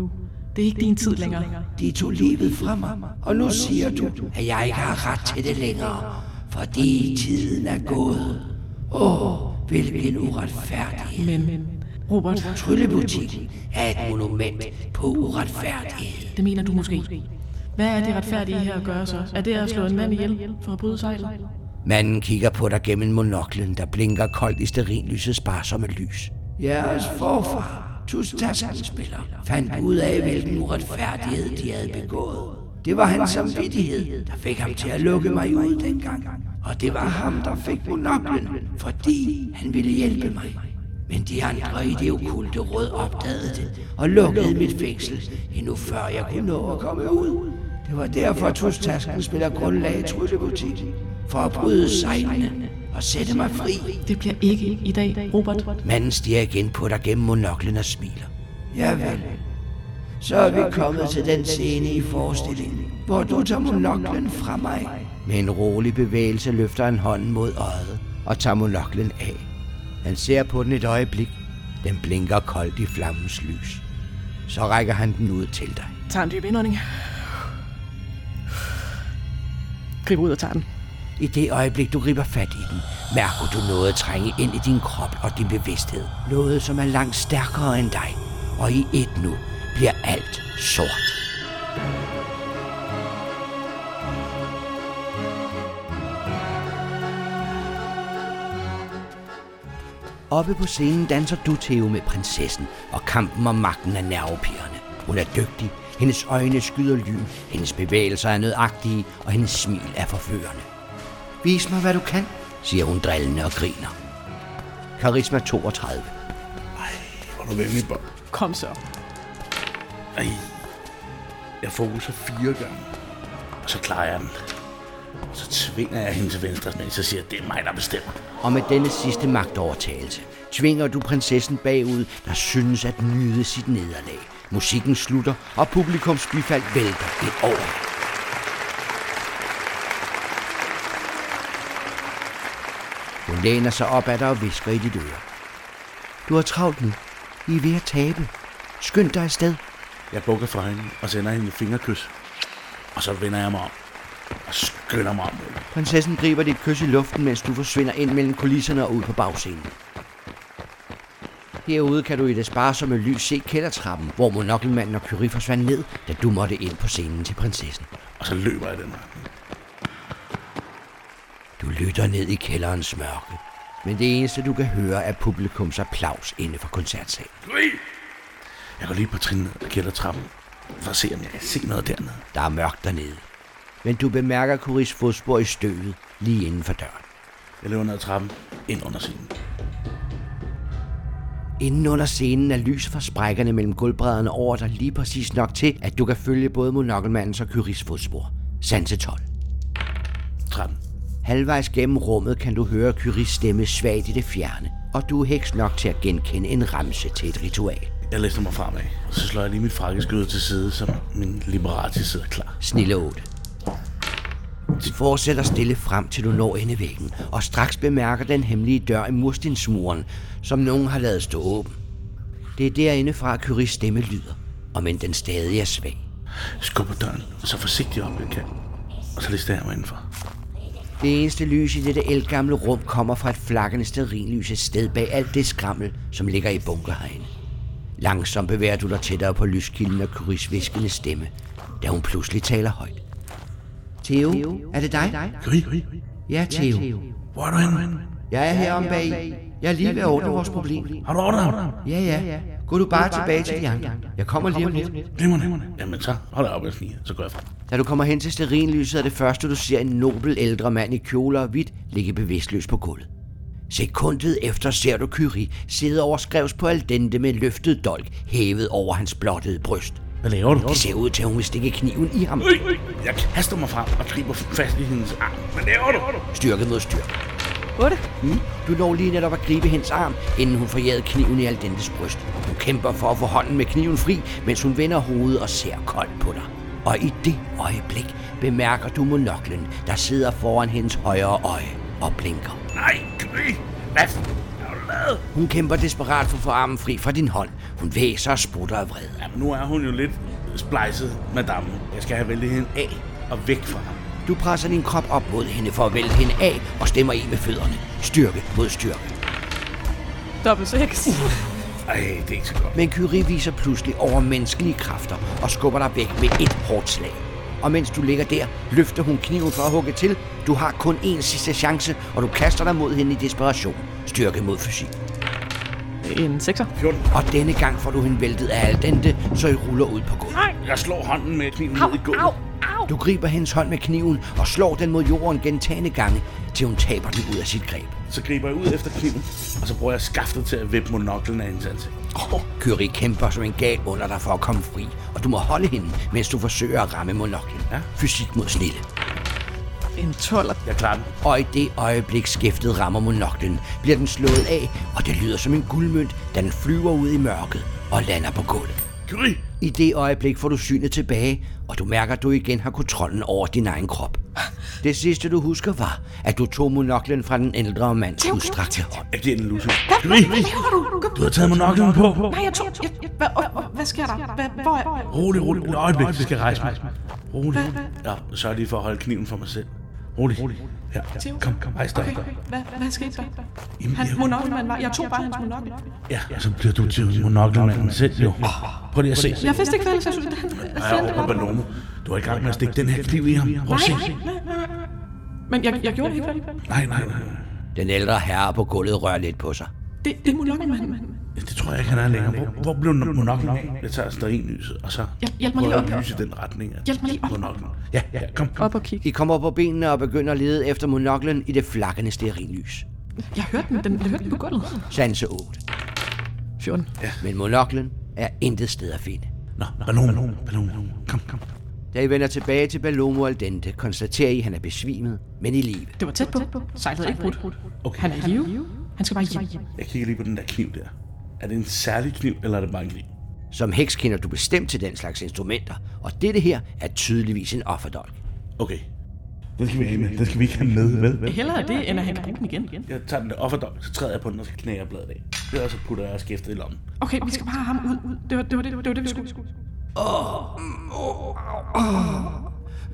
[SPEAKER 3] Det er ikke din tid længere.
[SPEAKER 1] De tog livet fra mig, og nu siger du, at jeg ikke har ret til det længere, fordi tiden er gået. Åh, hvilken uretfærdighed.
[SPEAKER 3] Men, men Robert,
[SPEAKER 1] Tryllebutikken er et monument på uretfærdighed.
[SPEAKER 3] det mener du måske. Hvad er det retfærdige her at gøre så? Er det at slå en mand ihjel for at bryde sejlet?
[SPEAKER 1] Manden kigger på dig gennem monoklen, der blinker koldt i sterinlysets sparsomme lys. Jeres forfar, Tustaskens-spiller, fandt ud af, hvilken uretfærdighed de havde begået. Det var hans samvittighed, der fik ham til at lukke mig ud dengang. Og det var ham, der fik monoklen, fordi han ville hjælpe mig. Men de andre i det okulte råd opdagede det og lukkede mit fængsel, endnu før jeg kunne nå at komme ud. Det var derfor, Tustaskens-spiller grundlagde tryllebutikken, for at bryde sejlene og sætte mig fri.
[SPEAKER 3] Det bliver ikke i dag, Robert.
[SPEAKER 1] Manden stiger igen på dig gennem monoklen og smiler. Ja vel. Så er vi kommet til den scene i forestillingen, hvor du tager monoklen fra mig. Med en rolig bevægelse løfter han hånden mod øjet og tager monoklen af. Han ser på den et øjeblik. Den blinker koldt i flammens lys. Så rækker han den ud til dig.
[SPEAKER 3] Tag en dyb indånding. Grib ud og tag den.
[SPEAKER 1] I det øjeblik, du griber fat i den, mærker du noget trænge ind i din krop og din bevidsthed. Noget, som er langt stærkere end dig. Og i et nu bliver alt sort. Oppe på scenen danser du Theo med prinsessen, og kampen om magten er nervepirrende. Hun er dygtig, hendes øjne skyder lyn, hendes bevægelser er nødagtige, og hendes smil er forførende. Vis mig, hvad du kan, siger hun drillende og griner. Karisma 32.
[SPEAKER 2] Hvor er du venlig, Bob.
[SPEAKER 3] Kom så.
[SPEAKER 2] Ej. Jeg fokuser fire gange, og så klarer jeg den. Og så tvinger jeg hende til venstre, men så siger jeg, det er mig, der bestemmer.
[SPEAKER 1] Og med denne sidste magtovertagelse tvinger du prinsessen bagud, der synes at nyde sit nederlag. Musikken slutter, og publikums bifald vælter ind over. Hun læner sig op ad dig og visker i dit øre. Du har travlt nu. I er ved at tabe. Skynd dig afsted.
[SPEAKER 2] Jeg bukker fra hende og sender hende et fingerkys. Og så vender jeg mig om og skynder mig om. mod hende.
[SPEAKER 1] Prinsessen griber dit kys i luften, mens du forsvinder ind mellem kulisserne og ud på bagscenen. Herude kan du i det sparsomme lys se kældertrappen, hvor monokkelmanden og Curie forsvandt ned, da du måtte ind på scenen til prinsessen.
[SPEAKER 2] Og så løber jeg den her.
[SPEAKER 1] Du lytter ned i kælderens mørke, men det eneste du kan høre er publikums applaus inde for koncertsalen.
[SPEAKER 2] Jeg går lige på trin ned og kælder trappen, for at se, om jeg kan se noget dernede.
[SPEAKER 1] Der er mørkt dernede, men du bemærker Curies fodspor i støvet lige inden for døren.
[SPEAKER 2] Jeg løber ned ad trappen, ind under scenen.
[SPEAKER 1] Inden under scenen er lys fra sprækkerne mellem gulvbrædderne over dig lige præcis nok til, at du kan følge både monokkelmandens og Kyris fodspor. Sanse 12.
[SPEAKER 2] Trappen.
[SPEAKER 1] Halvvejs gennem rummet kan du høre Kyris stemme svagt i det fjerne, og du er heks nok til at genkende en ramse til et ritual.
[SPEAKER 2] Jeg læser mig fremad, og så slår jeg lige mit frakkeskød til side, så min liberati sidder klar.
[SPEAKER 1] Snille 8. Du fortsætter stille frem, til du når ind i væggen, og straks bemærker den hemmelige dør i murstensmuren, som nogen har lavet stå åben. Det er derindefra, Kyris stemme lyder, om end den stadig er svag.
[SPEAKER 2] Jeg skubber døren så forsigtigt op, jeg kan. Og så lister jeg mig indenfor.
[SPEAKER 1] Det eneste lys i dette elgamle rum kommer fra et flakkende sterinlys et sted bag alt det skrammel, som ligger i bunker herinde. Langsomt bevæger du dig tættere på lyskilden og Curis viskende stemme, da hun pludselig taler højt. Theo, er det dig?
[SPEAKER 2] Gry,
[SPEAKER 1] Ja, Theo.
[SPEAKER 2] hvor er du henne?
[SPEAKER 1] Jeg er her om bag. Jeg er lige ved at ordne vores problem.
[SPEAKER 2] Har du ordnet ham?
[SPEAKER 1] Ja, ja. Gå du bare tilbage til de andre. Jeg kommer lige om lidt.
[SPEAKER 2] Glimrende. Jamen så hold da op med sniger, så går jeg frem.
[SPEAKER 1] Da du kommer hen til sterinlyset, er det første, du ser en nobel ældre mand i kjole og hvidt ligge bevidstløs på gulvet. Sekundet efter ser du Kyrie sidde over skrevs på al dente med løftet dolk hævet over hans blottede bryst.
[SPEAKER 2] Hvad laver du?
[SPEAKER 1] Det ser ud til, at hun vil stikke kniven i ham.
[SPEAKER 2] Jeg kaster mig frem og griber fast i hendes arm. Hvad laver du?
[SPEAKER 1] Styrke mod styrke.
[SPEAKER 3] 8.
[SPEAKER 1] Mm. Du når lige netop at gribe hendes arm, inden hun forjagede kniven i Aldentes bryst. Hun kæmper for at få hånden med kniven fri, mens hun vender hovedet og ser koldt på dig. Og i det øjeblik bemærker du monoklen, der sidder foran hendes højre øje og blinker.
[SPEAKER 2] Nej, Gry! Hvad f- har du lavet?
[SPEAKER 1] Hun kæmper desperat for at få armen fri fra din hånd. Hun væser og sprutter af vrede.
[SPEAKER 2] Jamen, nu er hun jo lidt splejset, madame. Jeg skal have væltet hende af og væk fra ham.
[SPEAKER 1] Du presser din krop op mod hende for at vælte hende af og stemmer i med fødderne. Styrke mod styrke.
[SPEAKER 3] Dobbelt 6.
[SPEAKER 2] Ej, det er ikke så godt.
[SPEAKER 1] Men Kyrie viser pludselig overmenneskelige kræfter og skubber dig væk med et hårdt slag. Og mens du ligger der, løfter hun kniven for at hugge til. Du har kun én sidste chance, og du kaster dig mod hende i desperation. Styrke mod fysik.
[SPEAKER 3] En 6'er.
[SPEAKER 2] 14.
[SPEAKER 1] Og denne gang får du hende væltet af al dente, så I ruller ud på gulvet.
[SPEAKER 2] Jeg slår hånden med kniven ned i gulvet.
[SPEAKER 1] Du griber hendes hånd med kniven og slår den mod jorden gentagende gange, til hun taber den ud af sit greb.
[SPEAKER 2] Så griber jeg ud efter kniven, og så bruger jeg skaftet til at vippe monoklen af hendes ansigt.
[SPEAKER 1] Kyrie kæmper som en gal under dig for at komme fri, og du må holde hende, mens du forsøger at ramme monoklen.
[SPEAKER 2] Ja.
[SPEAKER 1] Fysik mod snille.
[SPEAKER 3] En 12'er.
[SPEAKER 2] Jeg klarer den.
[SPEAKER 1] Og i det øjeblik skæftet rammer monoklen, bliver den slået af, og det lyder som en guldmønt, da den flyver ud i mørket og lander på gulvet.
[SPEAKER 2] Gry!
[SPEAKER 1] I det øjeblik får du synet tilbage, og du mærker, at du igen har kontrollen over din egen krop. Det sidste, du husker, var, at du tog monoklen fra den ældre mands udstrakte hånd.
[SPEAKER 2] Jeg giver den en lussing. Gry! Du har taget monoklen på.
[SPEAKER 3] Nej, jeg tog... Jeg, jeg, hvad, hvad, hvad sker der? Hvad, hvor er...
[SPEAKER 2] Rolig, rolig. Et øjeblik, vi skal rejse mig. Rolig. Ja, så er lige for at holde kniven for mig selv. Rolig. Ja, ja. Kom, kom. Hej, stop,
[SPEAKER 3] Okay,
[SPEAKER 2] stop.
[SPEAKER 3] hvad, hvad skete der?
[SPEAKER 2] Jamen,
[SPEAKER 3] Han,
[SPEAKER 2] jeg-
[SPEAKER 3] monokkelmand var, jeg tog bare hans monokkel.
[SPEAKER 2] Ja, og så bliver du til monokkelmanden selv, jo. Prøv lige at se.
[SPEAKER 3] Jeg vidste ikke, hvad jeg skulle den.
[SPEAKER 2] Ja, over ballon. Du er i gang med at stikke den her kniv i ham. Prøv at se.
[SPEAKER 3] Men jeg, jeg gjorde det ikke, vel?
[SPEAKER 2] Nej, nej, nej.
[SPEAKER 1] Den ældre herre på gulvet rører lidt på sig.
[SPEAKER 3] Det, det er monokkelmanden.
[SPEAKER 2] Det tror jeg ikke, han er længere. Hvor, hvor blev monoklen af? Jeg tager sterinlyset, og så
[SPEAKER 3] Hjælp- hjælp mig
[SPEAKER 2] prøver
[SPEAKER 3] lige
[SPEAKER 2] jeg
[SPEAKER 3] op.
[SPEAKER 2] at lyse i den retning. at
[SPEAKER 3] Hjælp mig lige op.
[SPEAKER 2] Monoklen. Ja, ja, kom, kom.
[SPEAKER 3] Op og kig.
[SPEAKER 1] I kommer på benene og begynder at lede efter monoklen i det flakkende stearinlys.
[SPEAKER 3] Jeg hørte den, den, jeg hørte den på gulvet.
[SPEAKER 1] Sanse 8.
[SPEAKER 3] 14.
[SPEAKER 1] Men monoklen er intet sted at finde.
[SPEAKER 2] Nå, ballon, ballon, ballon. Kom, kom.
[SPEAKER 1] Da I vender tilbage til Ballomo Aldente, konstaterer I, at han er besvimet, men i live.
[SPEAKER 3] Det var tæt på. Sejlet er ikke brudt.
[SPEAKER 2] Okay.
[SPEAKER 3] Han er i live. Han skal bare hjem.
[SPEAKER 2] Jeg kigger lige på den der kniv der. Er det en særlig kniv, eller er det bare en kniv?
[SPEAKER 1] Som heks kender du bestemt til den slags instrumenter, og dette her er tydeligvis en offerdolk.
[SPEAKER 2] Okay. Den skal vi ikke med. Den skal vi ikke have med, vel? vel?
[SPEAKER 3] Hellere det, end at han kan bruge den igen.
[SPEAKER 2] Jeg tager den der offerdom, så træder jeg på den, og så knæger jeg bladet af. Det er, så putter jeg skæftet i lommen.
[SPEAKER 3] Okay, vi skal bare have ham ud. Det var det, var det, det, var det vi skulle.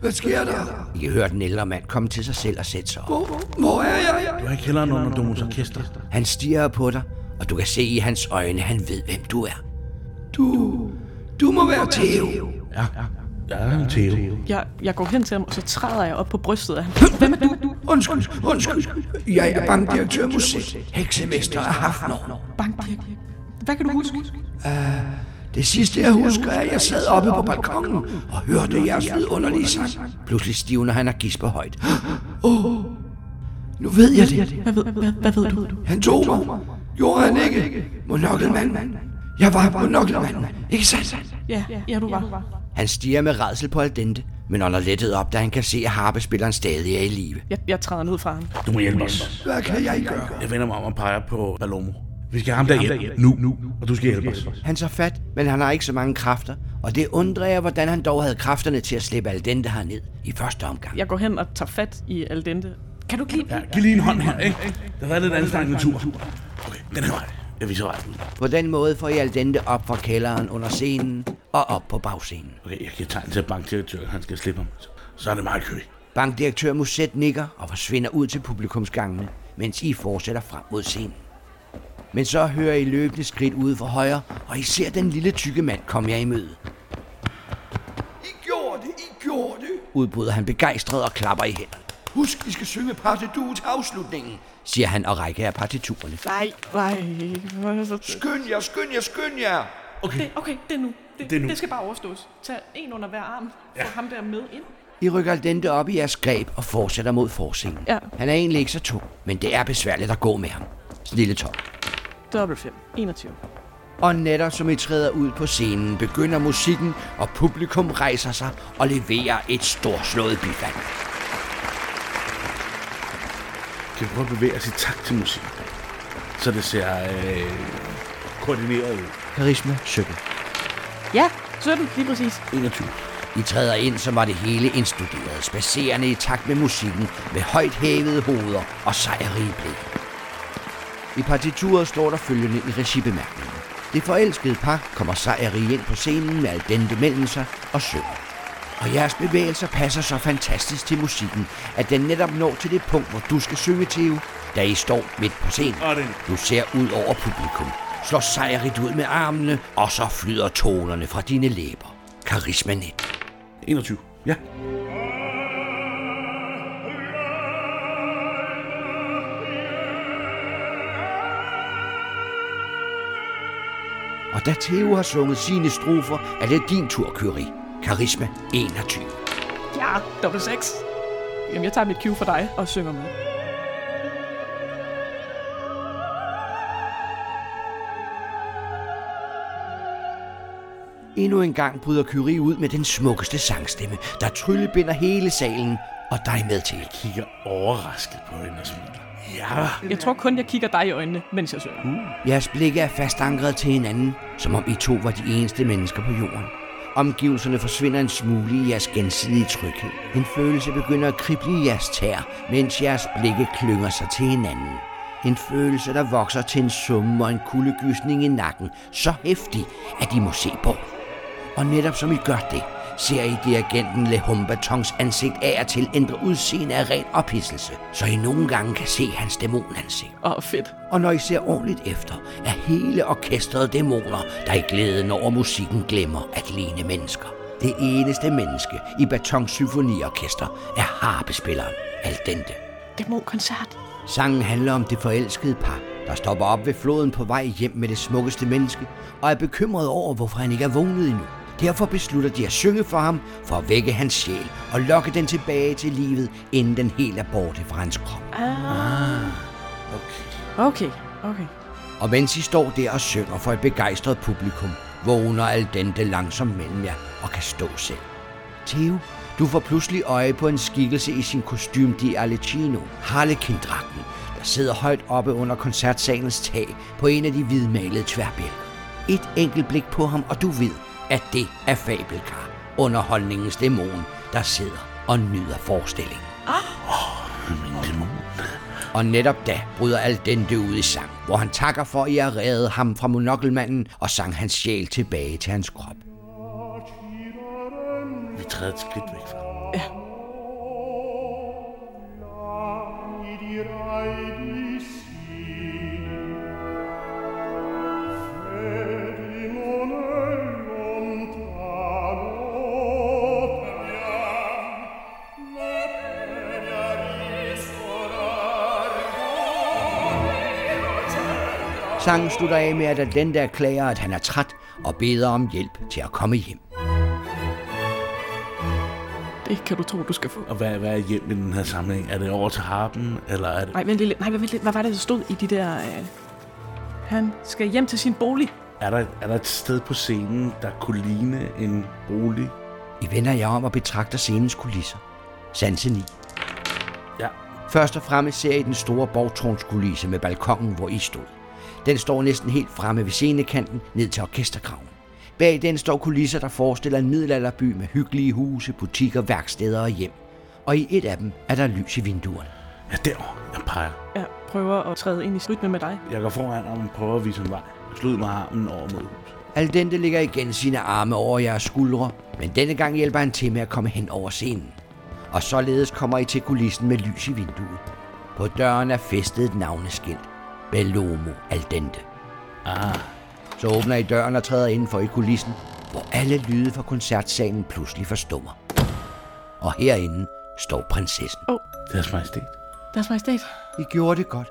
[SPEAKER 5] Hvad sker der?
[SPEAKER 1] I kan høre den ældre mand komme til sig selv og sætte sig op.
[SPEAKER 5] Hvor er jeg?
[SPEAKER 2] Du har ikke kælderen under Domus Orkester.
[SPEAKER 1] Han stiger på dig, og du kan se i hans øjne, han ved, hvem du er.
[SPEAKER 5] Du må være Theo.
[SPEAKER 2] Ja, ja. Der er en Theo.
[SPEAKER 3] Jeg, jeg går hen til ham, og så træder jeg op på brystet af ham. Hvem er du?
[SPEAKER 5] Undskyld, undskyld. Jeg er bankdirektør Musik. Heksemester af Hafnor.
[SPEAKER 3] Bankdirk. Hvad kan du huske?
[SPEAKER 5] Det sidste jeg husker er, at jeg sad oppe på balkongen og hørte jeres vidunderlige sang.
[SPEAKER 1] Pludselig stivner han og gisper højt.
[SPEAKER 5] Nu ved jeg det.
[SPEAKER 3] Hvad ved, hvad, hvad ved du?
[SPEAKER 5] Han tog mig. Gjorde han ikke? Monokkelmand. Jeg var monokkelmand. Ikke sandt?
[SPEAKER 3] Ja, ja, du var.
[SPEAKER 1] Han stiger med redsel på Aldente, men ånder lettet op, da han kan se, at harpespilleren stadig er i live.
[SPEAKER 3] Jeg, jeg træder ned fra ham.
[SPEAKER 2] Du må hjælpe os.
[SPEAKER 5] Hvad kan jeg gøre?
[SPEAKER 2] Jeg vender mig om og peger på Balomo. Vi skal have ham der hjem nu, nu, og du skal hjælpe os.
[SPEAKER 1] Han tager fat, men han har ikke så mange kræfter, og det undrer jeg, hvordan han dog havde kræfterne til at slippe Aldente herned i første omgang.
[SPEAKER 3] Jeg går hen og tager fat i Aldente. Kan du ikke lide
[SPEAKER 2] Ja, giv lige en hånd her, ikke? Det var lidt anstrengende tur. Okay, den her vej. Jeg viser ret ud.
[SPEAKER 1] På den måde får I Aldente op fra kælderen under scenen og op på bagscenen.
[SPEAKER 2] Okay, jeg giver tegn til bankdirektøren, han skal slippe ham. Så er det mig, Køge.
[SPEAKER 1] Bankdirektør Musset nikker og forsvinder ud til publikumsgangene, mens I fortsætter frem mod scenen. Men så hører I løbende skridt ude fra højre, og I ser den lille tykke mand komme jer i møde.
[SPEAKER 5] I gjorde det, I gjorde det.
[SPEAKER 1] Udbryder han begejstret og klapper i hænderne,
[SPEAKER 5] Husk, I skal synge partitur til afslutningen.
[SPEAKER 1] siger han og rækker af partiturerne.
[SPEAKER 3] Nej, nej.
[SPEAKER 5] Skynd jer, skynd jer, skynd jer.
[SPEAKER 3] Det, okay, det er nu. Det,
[SPEAKER 2] Det er nu.
[SPEAKER 3] det skal bare overstås. Tag en under hver arm. Få ham der med ind.
[SPEAKER 1] I rykker Aldente op i jeres greb og fortsætter mod forscenen.
[SPEAKER 3] Ja.
[SPEAKER 1] Han er egentlig ikke så tung, men det er besværligt at gå med ham. Snille Tom.
[SPEAKER 3] Dobbelt 5. 21.
[SPEAKER 1] Og netop som I træder ud på scenen, begynder musikken, og publikum rejser sig og leverer et storslået bifald.
[SPEAKER 2] Kan vi prøve at bevæge os i takt til musik? Så det ser øh, koordineret ud.
[SPEAKER 1] Karisma 17.
[SPEAKER 3] Ja, 17. Lige præcis.
[SPEAKER 2] 21.
[SPEAKER 1] I træder ind, som var det hele indstuderet, spacerende i takt med musikken, med højt hævede hoveder og sejrige blikke. I partituret står der følgende i regibemærkningen. Det forelskede par kommer sejrige ind på scenen med al dente mellem sig og synger. Og jeres bevægelser passer så fantastisk til musikken, at den netop når til det punkt, hvor du skal synge, Theo, da I står midt på scenen.
[SPEAKER 2] Og den.
[SPEAKER 1] Du ser ud over publikum, slår sejrigt ud med armene, og så flyder tonerne fra dine læber. Karisma 19.
[SPEAKER 2] 21. Ja.
[SPEAKER 1] Og da Theo har sunget sine strofer, er det din tur, Kyrie. Karisma 21.
[SPEAKER 3] Ja, dobbelt 6. Jamen, jeg tager mit cue for dig og synger med.
[SPEAKER 1] Endnu en gang bryder Kyrie ud med den smukkeste sangstemme, der tryllebinder hele salen, og dig med til.
[SPEAKER 2] Kigger overrasket på hende og smiler. Ja.
[SPEAKER 3] Jeg Mm. tror kun, jeg kigger dig i øjnene, mens jeg synger.
[SPEAKER 1] Jeres blikke er fastankret til hinanden, som om I to var de eneste mennesker på jorden. Omgivelserne forsvinder en smule i jeres gensidige tryghed. En følelse begynder at krible i jeres tær, mens jeres blikke klynger sig til hinanden. En følelse, der vokser til en summe og en kuldegysning i nakken, så hæftig, at I må se bort. Og netop som I gør det, ser I dirigenten Le Humbertons ansigt af og til ændre udseende af ren ophidselse, så I nogle gange kan se hans dæmonansigt.
[SPEAKER 3] Åh, oh, fedt.
[SPEAKER 1] Og når I ser ordentligt efter, er hele orkestret dæmoner, der i glæden over musikken glemmer at ligne mennesker. Det eneste menneske i Batons symfoniorkester er harpespilleren Al Dente.
[SPEAKER 3] Dæmonkoncert.
[SPEAKER 1] Sangen handler om det forelskede par, der stopper op ved floden på vej hjem med det smukkeste menneske, og er bekymret over, hvorfor han ikke er vågnet endnu. Derfor beslutter de at synge for ham, for at vække hans sjæl og lokke den tilbage til livet, inden den helt er borte fra hans krop.
[SPEAKER 3] Okay, okay.
[SPEAKER 1] Og mens I står der og synger for et begejstret publikum, vågner al dente langsomt mellem jer og kan stå selv. Theo, du får pludselig øje på en skikkelse i sin kostym di Alecino, harlekindragten, der sidder højt oppe under koncertsalens tag på en af de hvidmalede tværbjælker. Et enkelt blik på ham, og du ved, at det er Fabelkar, underholdningens dæmon, der sidder og nyder forestillingen. Og netop da bryder al dente ud i sang, hvor han takker for, at I har reddet ham fra monokkelmanden og sang hans sjæl tilbage til hans krop.
[SPEAKER 2] Vi træder et skridt væk fra. ham.
[SPEAKER 1] Sangen slutter af med, at al dente erklærer, at han er træt og beder om hjælp til at komme hjem.
[SPEAKER 3] Det kan du tro, du skal få.
[SPEAKER 2] Og hvad, hvad er hjem i den her sammenhæng? Er det over til harpen, eller er det,
[SPEAKER 3] Nej, vent lige lidt. Nej, vent lidt. Hvad var det, der stod i de der... Øh... Han skal hjem til sin bolig.
[SPEAKER 2] er, der, er der et sted på scenen, der kunne ligne en bolig?
[SPEAKER 1] I vender jer om og betragter scenens kulisser. Sanse 9.
[SPEAKER 2] Ja,
[SPEAKER 1] Først og fremmest ser I den store borgtårnskulisse med balkongen, hvor I stod. Den står næsten helt fremme ved scenekanten ned til orkestergraven. Bag den står kulisser, der forestiller en middelalderby med hyggelige huse, butikker, værksteder og hjem. Og i et af dem er der lys i vinduerne.
[SPEAKER 2] ja derovre. Jeg peger.
[SPEAKER 3] Jeg prøver at træde ind i rytme med dig.
[SPEAKER 2] Jeg går foran og prøver at vise en vej. Jeg slutter med armen over mod huset.
[SPEAKER 1] Al dente ligger igen sine arme over jeres skuldre, men denne gang hjælper han til med at komme hen over scenen. Og således kommer I til kulissen med lys i vinduet. På døren er festet et navneskilt. Bellomo Al Dente.
[SPEAKER 2] Ah,
[SPEAKER 1] Så åbner I døren og træder indenfor i kulissen, hvor alle lyde fra koncertsalen pludselig forstummer. Og herinde står prinsessen.
[SPEAKER 2] deres majestæt.
[SPEAKER 3] Deres majestæt.
[SPEAKER 1] I gjorde det godt.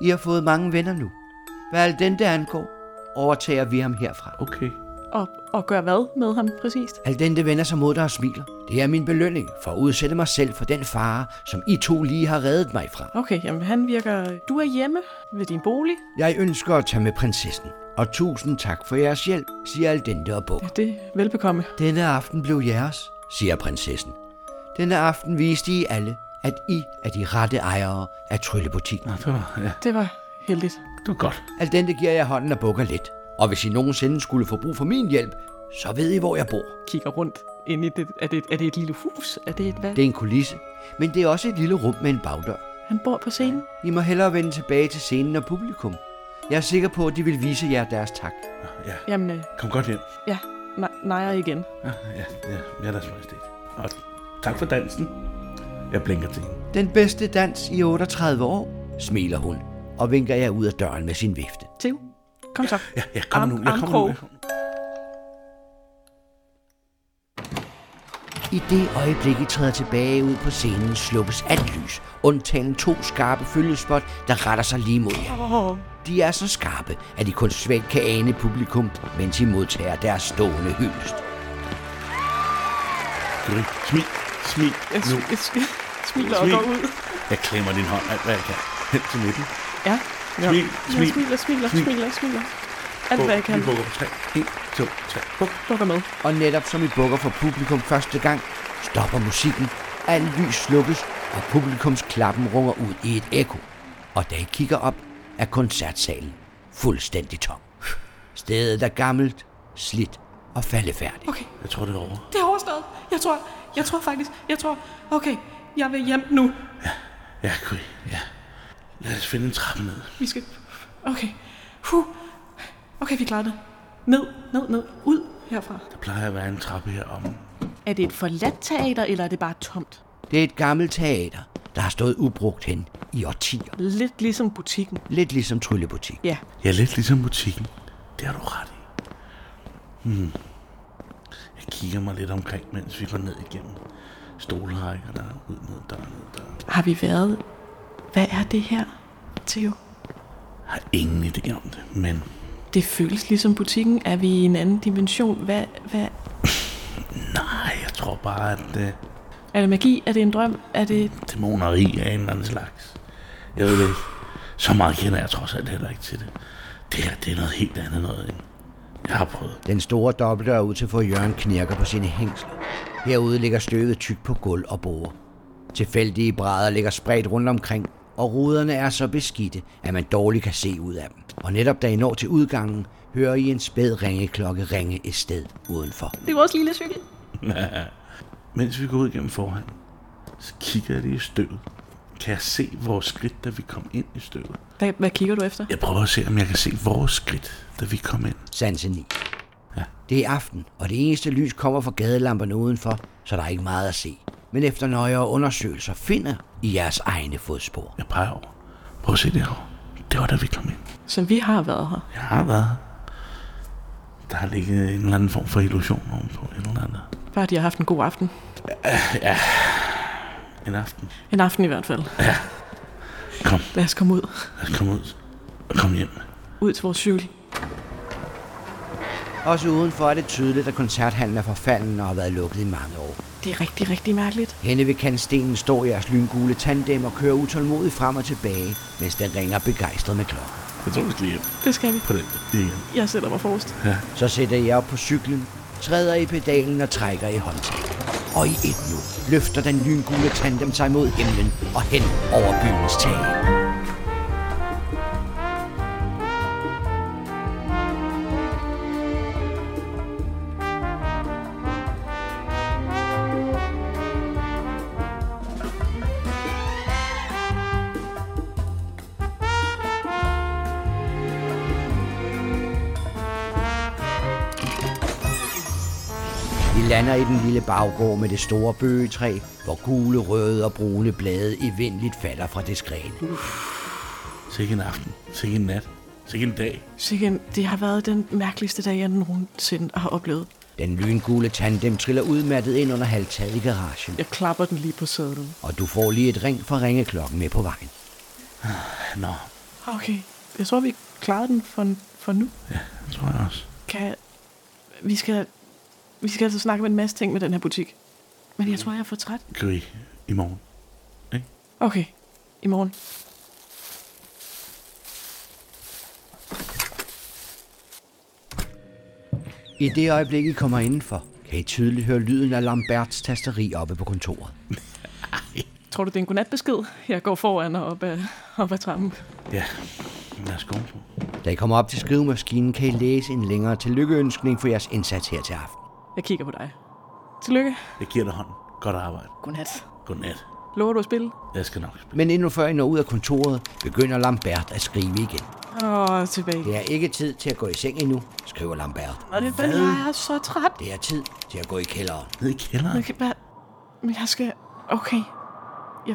[SPEAKER 1] I har fået mange venner nu. Hvad al den der angår, overtager vi ham herfra.
[SPEAKER 2] Okay.
[SPEAKER 3] Og, og gør hvad med ham præcist?
[SPEAKER 1] Al den der vender sig mod dig og smiler. Det er min belønning for at udsætte mig selv for den fare, som I to lige har reddet mig fra.
[SPEAKER 3] Okay, jamen han virker... Du er hjemme ved din bolig.
[SPEAKER 1] Jeg ønsker at tage med prinsessen. Og tusind tak for jeres hjælp, siger Aldente og Buk.
[SPEAKER 3] Ja, det er velbekomme.
[SPEAKER 1] Denne aften blev jeres, siger prinsessen. Denne aften viste I alle, at I er de rette ejere af tryllebutikken.
[SPEAKER 2] Nå, det var, ja,
[SPEAKER 3] Det var heldigt.
[SPEAKER 2] det var godt.
[SPEAKER 1] Alt den, det giver jeg hånden og bukker lidt. Og hvis I nogensinde skulle få brug for min hjælp, så ved I, hvor jeg bor.
[SPEAKER 3] Kigger rundt ind i det. Er det, er det et lille hus? Er det et hvad?
[SPEAKER 1] Det
[SPEAKER 3] Det.
[SPEAKER 1] er en kulisse, men det er også et lille rum med en bagdør.
[SPEAKER 3] Han bor på scenen.
[SPEAKER 1] I må hellere vende tilbage til scenen og publikum. Jeg er sikker på, at de vil vise jer deres tak.
[SPEAKER 2] Nå, Ja,
[SPEAKER 3] Jamen, øh,
[SPEAKER 2] kom godt hjem.
[SPEAKER 3] ja. Nej, nejer igen.
[SPEAKER 2] Ja, ja, ja, ja deres majestæt. Og tak for dansen. Jeg blinker til hende.
[SPEAKER 1] Den bedste dans i 38 år, smiler hun og vinker jer ud af døren med sin vifte.
[SPEAKER 3] Theo, kom så.
[SPEAKER 2] Ja, jeg kommer nu. Jeg kommer nu.
[SPEAKER 3] Armkrog.
[SPEAKER 2] Jeg kommer.
[SPEAKER 1] I det øjeblik, I træder tilbage ud på scenen, slukkes alt lys, undtagen to skarpe følgespot, der retter sig lige mod jer. De er så skarpe, at I kun svagt kan ane publikum, mens I modtager deres stående hyldest.
[SPEAKER 2] Gry, smil. Smil.
[SPEAKER 3] Jeg,
[SPEAKER 2] Nu.
[SPEAKER 3] jeg, jeg smiler og
[SPEAKER 2] Smil.
[SPEAKER 3] går ud.
[SPEAKER 2] Jeg klemmer din hånd alt, hvad jeg kan. Hen til midten.
[SPEAKER 3] Ja. ja.
[SPEAKER 2] Smil, smil,
[SPEAKER 3] Jeg smiler, smiler,
[SPEAKER 2] smil.
[SPEAKER 3] smiler, smiler. Alt hvad jeg kan.
[SPEAKER 2] Vi bukker på tre. En, to, tre. Buk.
[SPEAKER 3] Bukker med.
[SPEAKER 1] Og netop som I bukker for publikum første gang, stopper musikken, al lys slukkes, og publikums klappen runger ud i et ekko. Og da I kigger op, er koncertsalen fuldstændig tom. Stedet er gammelt, slidt og faldefærdigt.
[SPEAKER 3] Okay,
[SPEAKER 2] Jeg tror, det er over.
[SPEAKER 3] det er overstået. Jeg tror, jeg tror faktisk, jeg tror, okay, jeg vil hjem nu.
[SPEAKER 2] Ja, Gry. Ja. Lad os finde en trappe ned.
[SPEAKER 3] Vi skal... Okay. Huh. Okay, vi klarer det. Ned, ned, ned. Ud herfra.
[SPEAKER 2] Der plejer at være en trappe heromme.
[SPEAKER 3] Er det et forladt teater, eller er det bare tomt?
[SPEAKER 1] Det er et gammelt teater, der har stået ubrugt hen i årtier.
[SPEAKER 3] Lidt ligesom butikken.
[SPEAKER 1] Lidt ligesom Tryllebutik.
[SPEAKER 3] Ja,
[SPEAKER 2] Ja, lidt ligesom butikken. Det har du ret i. Hmm. Jeg kigger mig lidt omkring, mens vi går ned igennem stolerækkerne og ud mod døren. Ned døren.
[SPEAKER 3] har vi været... Hvad er det her, Theo?
[SPEAKER 2] Jeg har ingen idé om det, men
[SPEAKER 3] Det føles ligesom butikken. Er vi i en anden dimension? Hvad, hvad?
[SPEAKER 2] nej, jeg tror bare, at øh,
[SPEAKER 3] Er det magi? Er det en drøm? Er det...
[SPEAKER 2] dæmoneri af en eller anden slags. Jeg ved det ikke. Så meget kender jeg trods alt heller ikke til det. Det her, det er noget helt andet noget, end jeg har prøvet.
[SPEAKER 1] Den store dobbeltdør ud til for Jørgen knirker på sine hængsler. Herude ligger støvet tyk på gulv og bord. Tilfældige brædder ligger spredt rundt omkring, og ruderne er så beskidte, at man dårligt kan se ud af dem. Og netop da I når til udgangen, hører I en spæd ringeklokke ringe et sted udenfor.
[SPEAKER 3] Det er vores lille cykel.
[SPEAKER 2] Mens vi går ud gennem foran, så kigger jeg lige i støvet. Kan jeg se vores skridt, da vi kom ind i støvet?
[SPEAKER 3] Hvad, hvad kigger du efter?
[SPEAKER 2] Jeg prøver at se, om jeg kan se vores skridt, da vi kom ind.
[SPEAKER 1] Sanse 9. Det er aften, og det eneste lys kommer fra gadelamperne udenfor, så der er ikke meget at se. Men efter nøjere undersøgelser finder I jeres egne fodspor.
[SPEAKER 2] Jeg peger over. Prøv at se derovre. Det var da vi kom ind.
[SPEAKER 3] Så vi har været her.
[SPEAKER 2] Jeg har været her. Der har ligget en eller anden form for illusion ovenpå. En eller anden.
[SPEAKER 3] Bare de har haft en god aften.
[SPEAKER 2] En aften.
[SPEAKER 3] En aften i hvert fald.
[SPEAKER 2] Kom,
[SPEAKER 3] Lad os komme ud.
[SPEAKER 2] lad os komme ud og komme hjem.
[SPEAKER 3] Ud til vores cykel.
[SPEAKER 1] Også udenfor er det tydeligt, at koncerthallen er forfalden og har været lukket i mange år.
[SPEAKER 3] Det er rigtig, rigtig mærkeligt.
[SPEAKER 1] Henne ved kantstenen står jeres lyngule tandem og kører utålmodigt frem og tilbage, mens den ringer begejstret med klokken.
[SPEAKER 2] Jeg tror, vi skal hjem
[SPEAKER 3] Det skal vi.
[SPEAKER 2] på den. Igen.
[SPEAKER 3] Jeg sætter mig forrest.
[SPEAKER 1] Så sætter I jer op på cyklen, træder i pedalen og trækker i håndtaget. Og i et nu løfter den lyngule tandem sig mod himlen og hen over byens tag. Vi lander i den lille baggård med det store bøgetræ, hvor gule, røde og brune blade evindeligt falder fra det gren.
[SPEAKER 2] Så ikke en aften. Så ikke en nat. Så ikke en dag.
[SPEAKER 3] Sikken, det har været den mærkeligste dag, jeg nogensinde har oplevet.
[SPEAKER 1] Den lyngule tandem triller udmattet ind under halvtaget i garagen,
[SPEAKER 3] Jeg klapper den lige på sædet.
[SPEAKER 1] og du får lige et ring fra ringeklokken med på vejen.
[SPEAKER 2] Nå,
[SPEAKER 3] Ah, Okay. Jeg tror, vi klarede den for, for nu.
[SPEAKER 2] det tror jeg også.
[SPEAKER 3] Kan... Vi skal... Vi skal altså snakke om en masse ting med den her butik. Men jeg tror, jeg er for træt.
[SPEAKER 2] Kan vi i morgen?
[SPEAKER 3] Okay. I morgen.
[SPEAKER 1] I det øjeblik, I kommer indenfor, kan I tydeligt høre lyden af Lamberts tasteri oppe på kontoret.
[SPEAKER 3] Tror du, det er en godnatbesked? Jeg går foran og op ad, op ad trappen.
[SPEAKER 2] Ja, lad os gå på.
[SPEAKER 1] Da I kommer op til skrivemaskinen, kan I læse en længere tillykkeønskning for jeres indsats her til aften.
[SPEAKER 3] Jeg kigger på dig. Tillykke.
[SPEAKER 2] Jeg giver dig hånden. Godt arbejde.
[SPEAKER 3] Godnat.
[SPEAKER 2] Godnat.
[SPEAKER 3] Lover du at spille?
[SPEAKER 2] Jeg skal nok spille.
[SPEAKER 1] Men endnu før I når ud af kontoret, begynder Lambert at skrive igen.
[SPEAKER 3] Åh, tilbage.
[SPEAKER 1] Det er ikke tid til at gå i seng endnu, skriver Lambert.
[SPEAKER 3] Og det er jeg er så træt.
[SPEAKER 1] Det er tid til at gå i kælderen.
[SPEAKER 2] Ned i kælderen.
[SPEAKER 3] Okay, hvad? Men jeg skal... Okay. Jeg...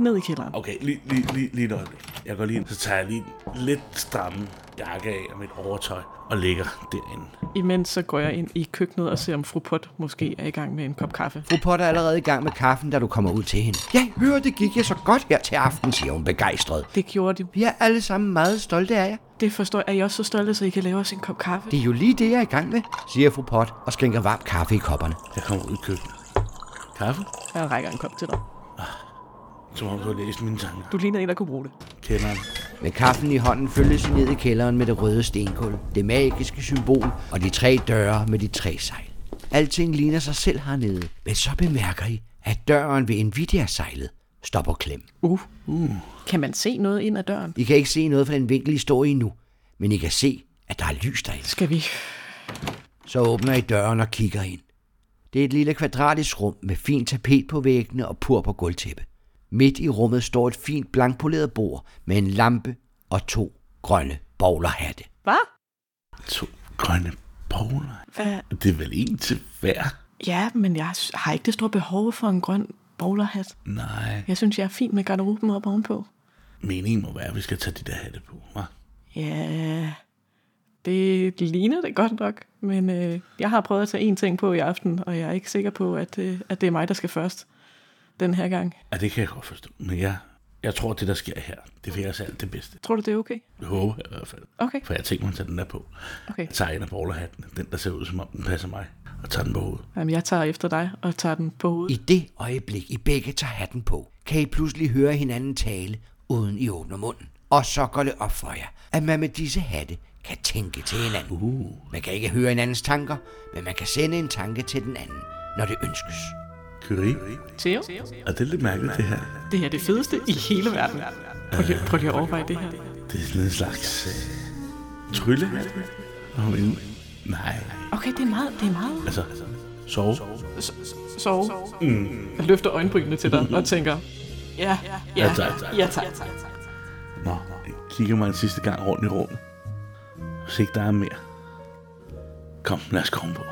[SPEAKER 3] Ned i kælderen.
[SPEAKER 2] Okay, lige, lige, lige, lige et øjeblik. Jeg går lige ind, så tager jeg lige en lidt stramme jakke af og mit overtøj og ligger derinde.
[SPEAKER 3] Imens så går jeg ind i køkkenet og ser, om fru Pot måske er i gang med en kop kaffe.
[SPEAKER 1] Fru Potter er allerede i gang med kaffen, da du kommer ud til hende. Ja, hør, det gik jeg så godt her til aften, siger hun begejstret.
[SPEAKER 3] Det gjorde de.
[SPEAKER 1] Vi er alle sammen meget stolte af jer.
[SPEAKER 3] Det forstår jeg. Er I også så stolte, så I kan lave os en kop kaffe?
[SPEAKER 1] Det er jo lige det, jeg er i gang med, siger fru Pot og skænker varm kaffe i kopperne.
[SPEAKER 2] Jeg kommer ud i køkkenet. Kaffe?
[SPEAKER 3] Jeg rækker en kop til dig.
[SPEAKER 2] Som om du har læst mine tanker.
[SPEAKER 3] Du ligner en, der kunne bruge det.
[SPEAKER 2] Kælderen.
[SPEAKER 1] Med kaffen i hånden følges I ned i kælderen med det røde stenkul, det magiske symbol og de tre døre med de tre sejl. Alting ligner sig selv hernede, men så bemærker I, at døren ved Nvidia-sejlet stopper klem.
[SPEAKER 3] Uh. uh. Kan man se noget ind ad døren?
[SPEAKER 1] I kan ikke se noget fra den vinkel, I står i nu, men I kan se, at der er lys derinde.
[SPEAKER 3] Skal vi...
[SPEAKER 1] Så åbner I døren og kigger ind. Det er et lille kvadratisk rum med fint tapet på væggene og pur på gulvtæppe. Midt i rummet står et fint blankpoleret bord med en lampe og to grønne bowlerhatte.
[SPEAKER 3] Hvad?
[SPEAKER 2] To grønne bowler.
[SPEAKER 3] Hvad?
[SPEAKER 2] Det er vel en til hver?
[SPEAKER 3] Ja, men jeg s- har ikke det store behov for en grøn bowlerhat.
[SPEAKER 2] Nej,
[SPEAKER 3] Jeg synes, jeg er fin med garderoben op ovenpå.
[SPEAKER 2] meningen må være, at vi skal tage de der hatte på, hva?
[SPEAKER 3] Ja, det ligner det godt nok, men øh, jeg har prøvet at tage én ting på i aften, og jeg er ikke sikker på, at, øh, at det er mig, der skal først den her gang.
[SPEAKER 2] Ja, det kan jeg godt forstå, men jeg, jeg tror, det der sker her, det vil jeg os alt det bedste.
[SPEAKER 3] Tror du, det er okay?
[SPEAKER 2] Jeg håber jeg i hvert fald.
[SPEAKER 3] Okay,
[SPEAKER 2] For jeg tænker mig at tage den der på.
[SPEAKER 3] okay.
[SPEAKER 2] Jeg tager en af bowlerhatten, den der ser ud som om den passer mig, og tager den på hovedet.
[SPEAKER 3] Jamen, jeg tager efter dig og tager den på
[SPEAKER 1] I
[SPEAKER 3] hovedet.
[SPEAKER 1] det øjeblik, I begge tager hatten på, kan I pludselig høre hinanden tale, uden I åbner munden. Og så går det op for jer, at man med disse hatte kan tænke til hinanden. Uh. Man kan ikke høre hinandens tanker, men man kan sende en tanke til den anden, når det ønskes.
[SPEAKER 2] Kyrie,
[SPEAKER 3] Theo,
[SPEAKER 2] er det lidt mærkeligt det her?
[SPEAKER 3] det her er det fedeste i hele verden. Prøv lige, prøv lige at overveje det her.
[SPEAKER 2] Det er sådan en slags øh, trylle. Om en, nej,
[SPEAKER 3] Okay, det er meget, det er meget.
[SPEAKER 2] altså, sove.
[SPEAKER 3] Sove. Mm. Jeg løfter øjenbrynene til dig og tænker, ja, ja, ja,
[SPEAKER 2] tak, tak.
[SPEAKER 3] ja, tak.
[SPEAKER 2] Nå, jeg kigger mig en sidste gang rundt i rummet. Hvis ikke der er mere. Kom, lad os komme på.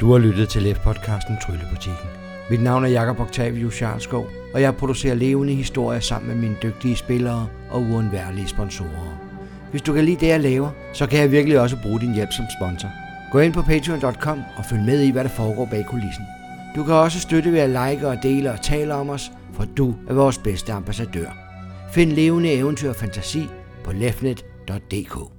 [SPEAKER 1] Du har lyttet til LEF-podcasten Tryllebutikken. Mit navn er Jakob Octavius Jarlskov, og jeg producerer levende historier sammen med mine dygtige spillere og uundværlige sponsorer. Hvis du kan lide det, jeg laver, så kan jeg virkelig også bruge din hjælp som sponsor. Gå ind på patreon.com og følg med i, hvad der foregår bag kulissen. Du kan også støtte ved at like og dele og tale om os, for du er vores bedste ambassadør. Find levende eventyr og fantasi på lefnet.dk.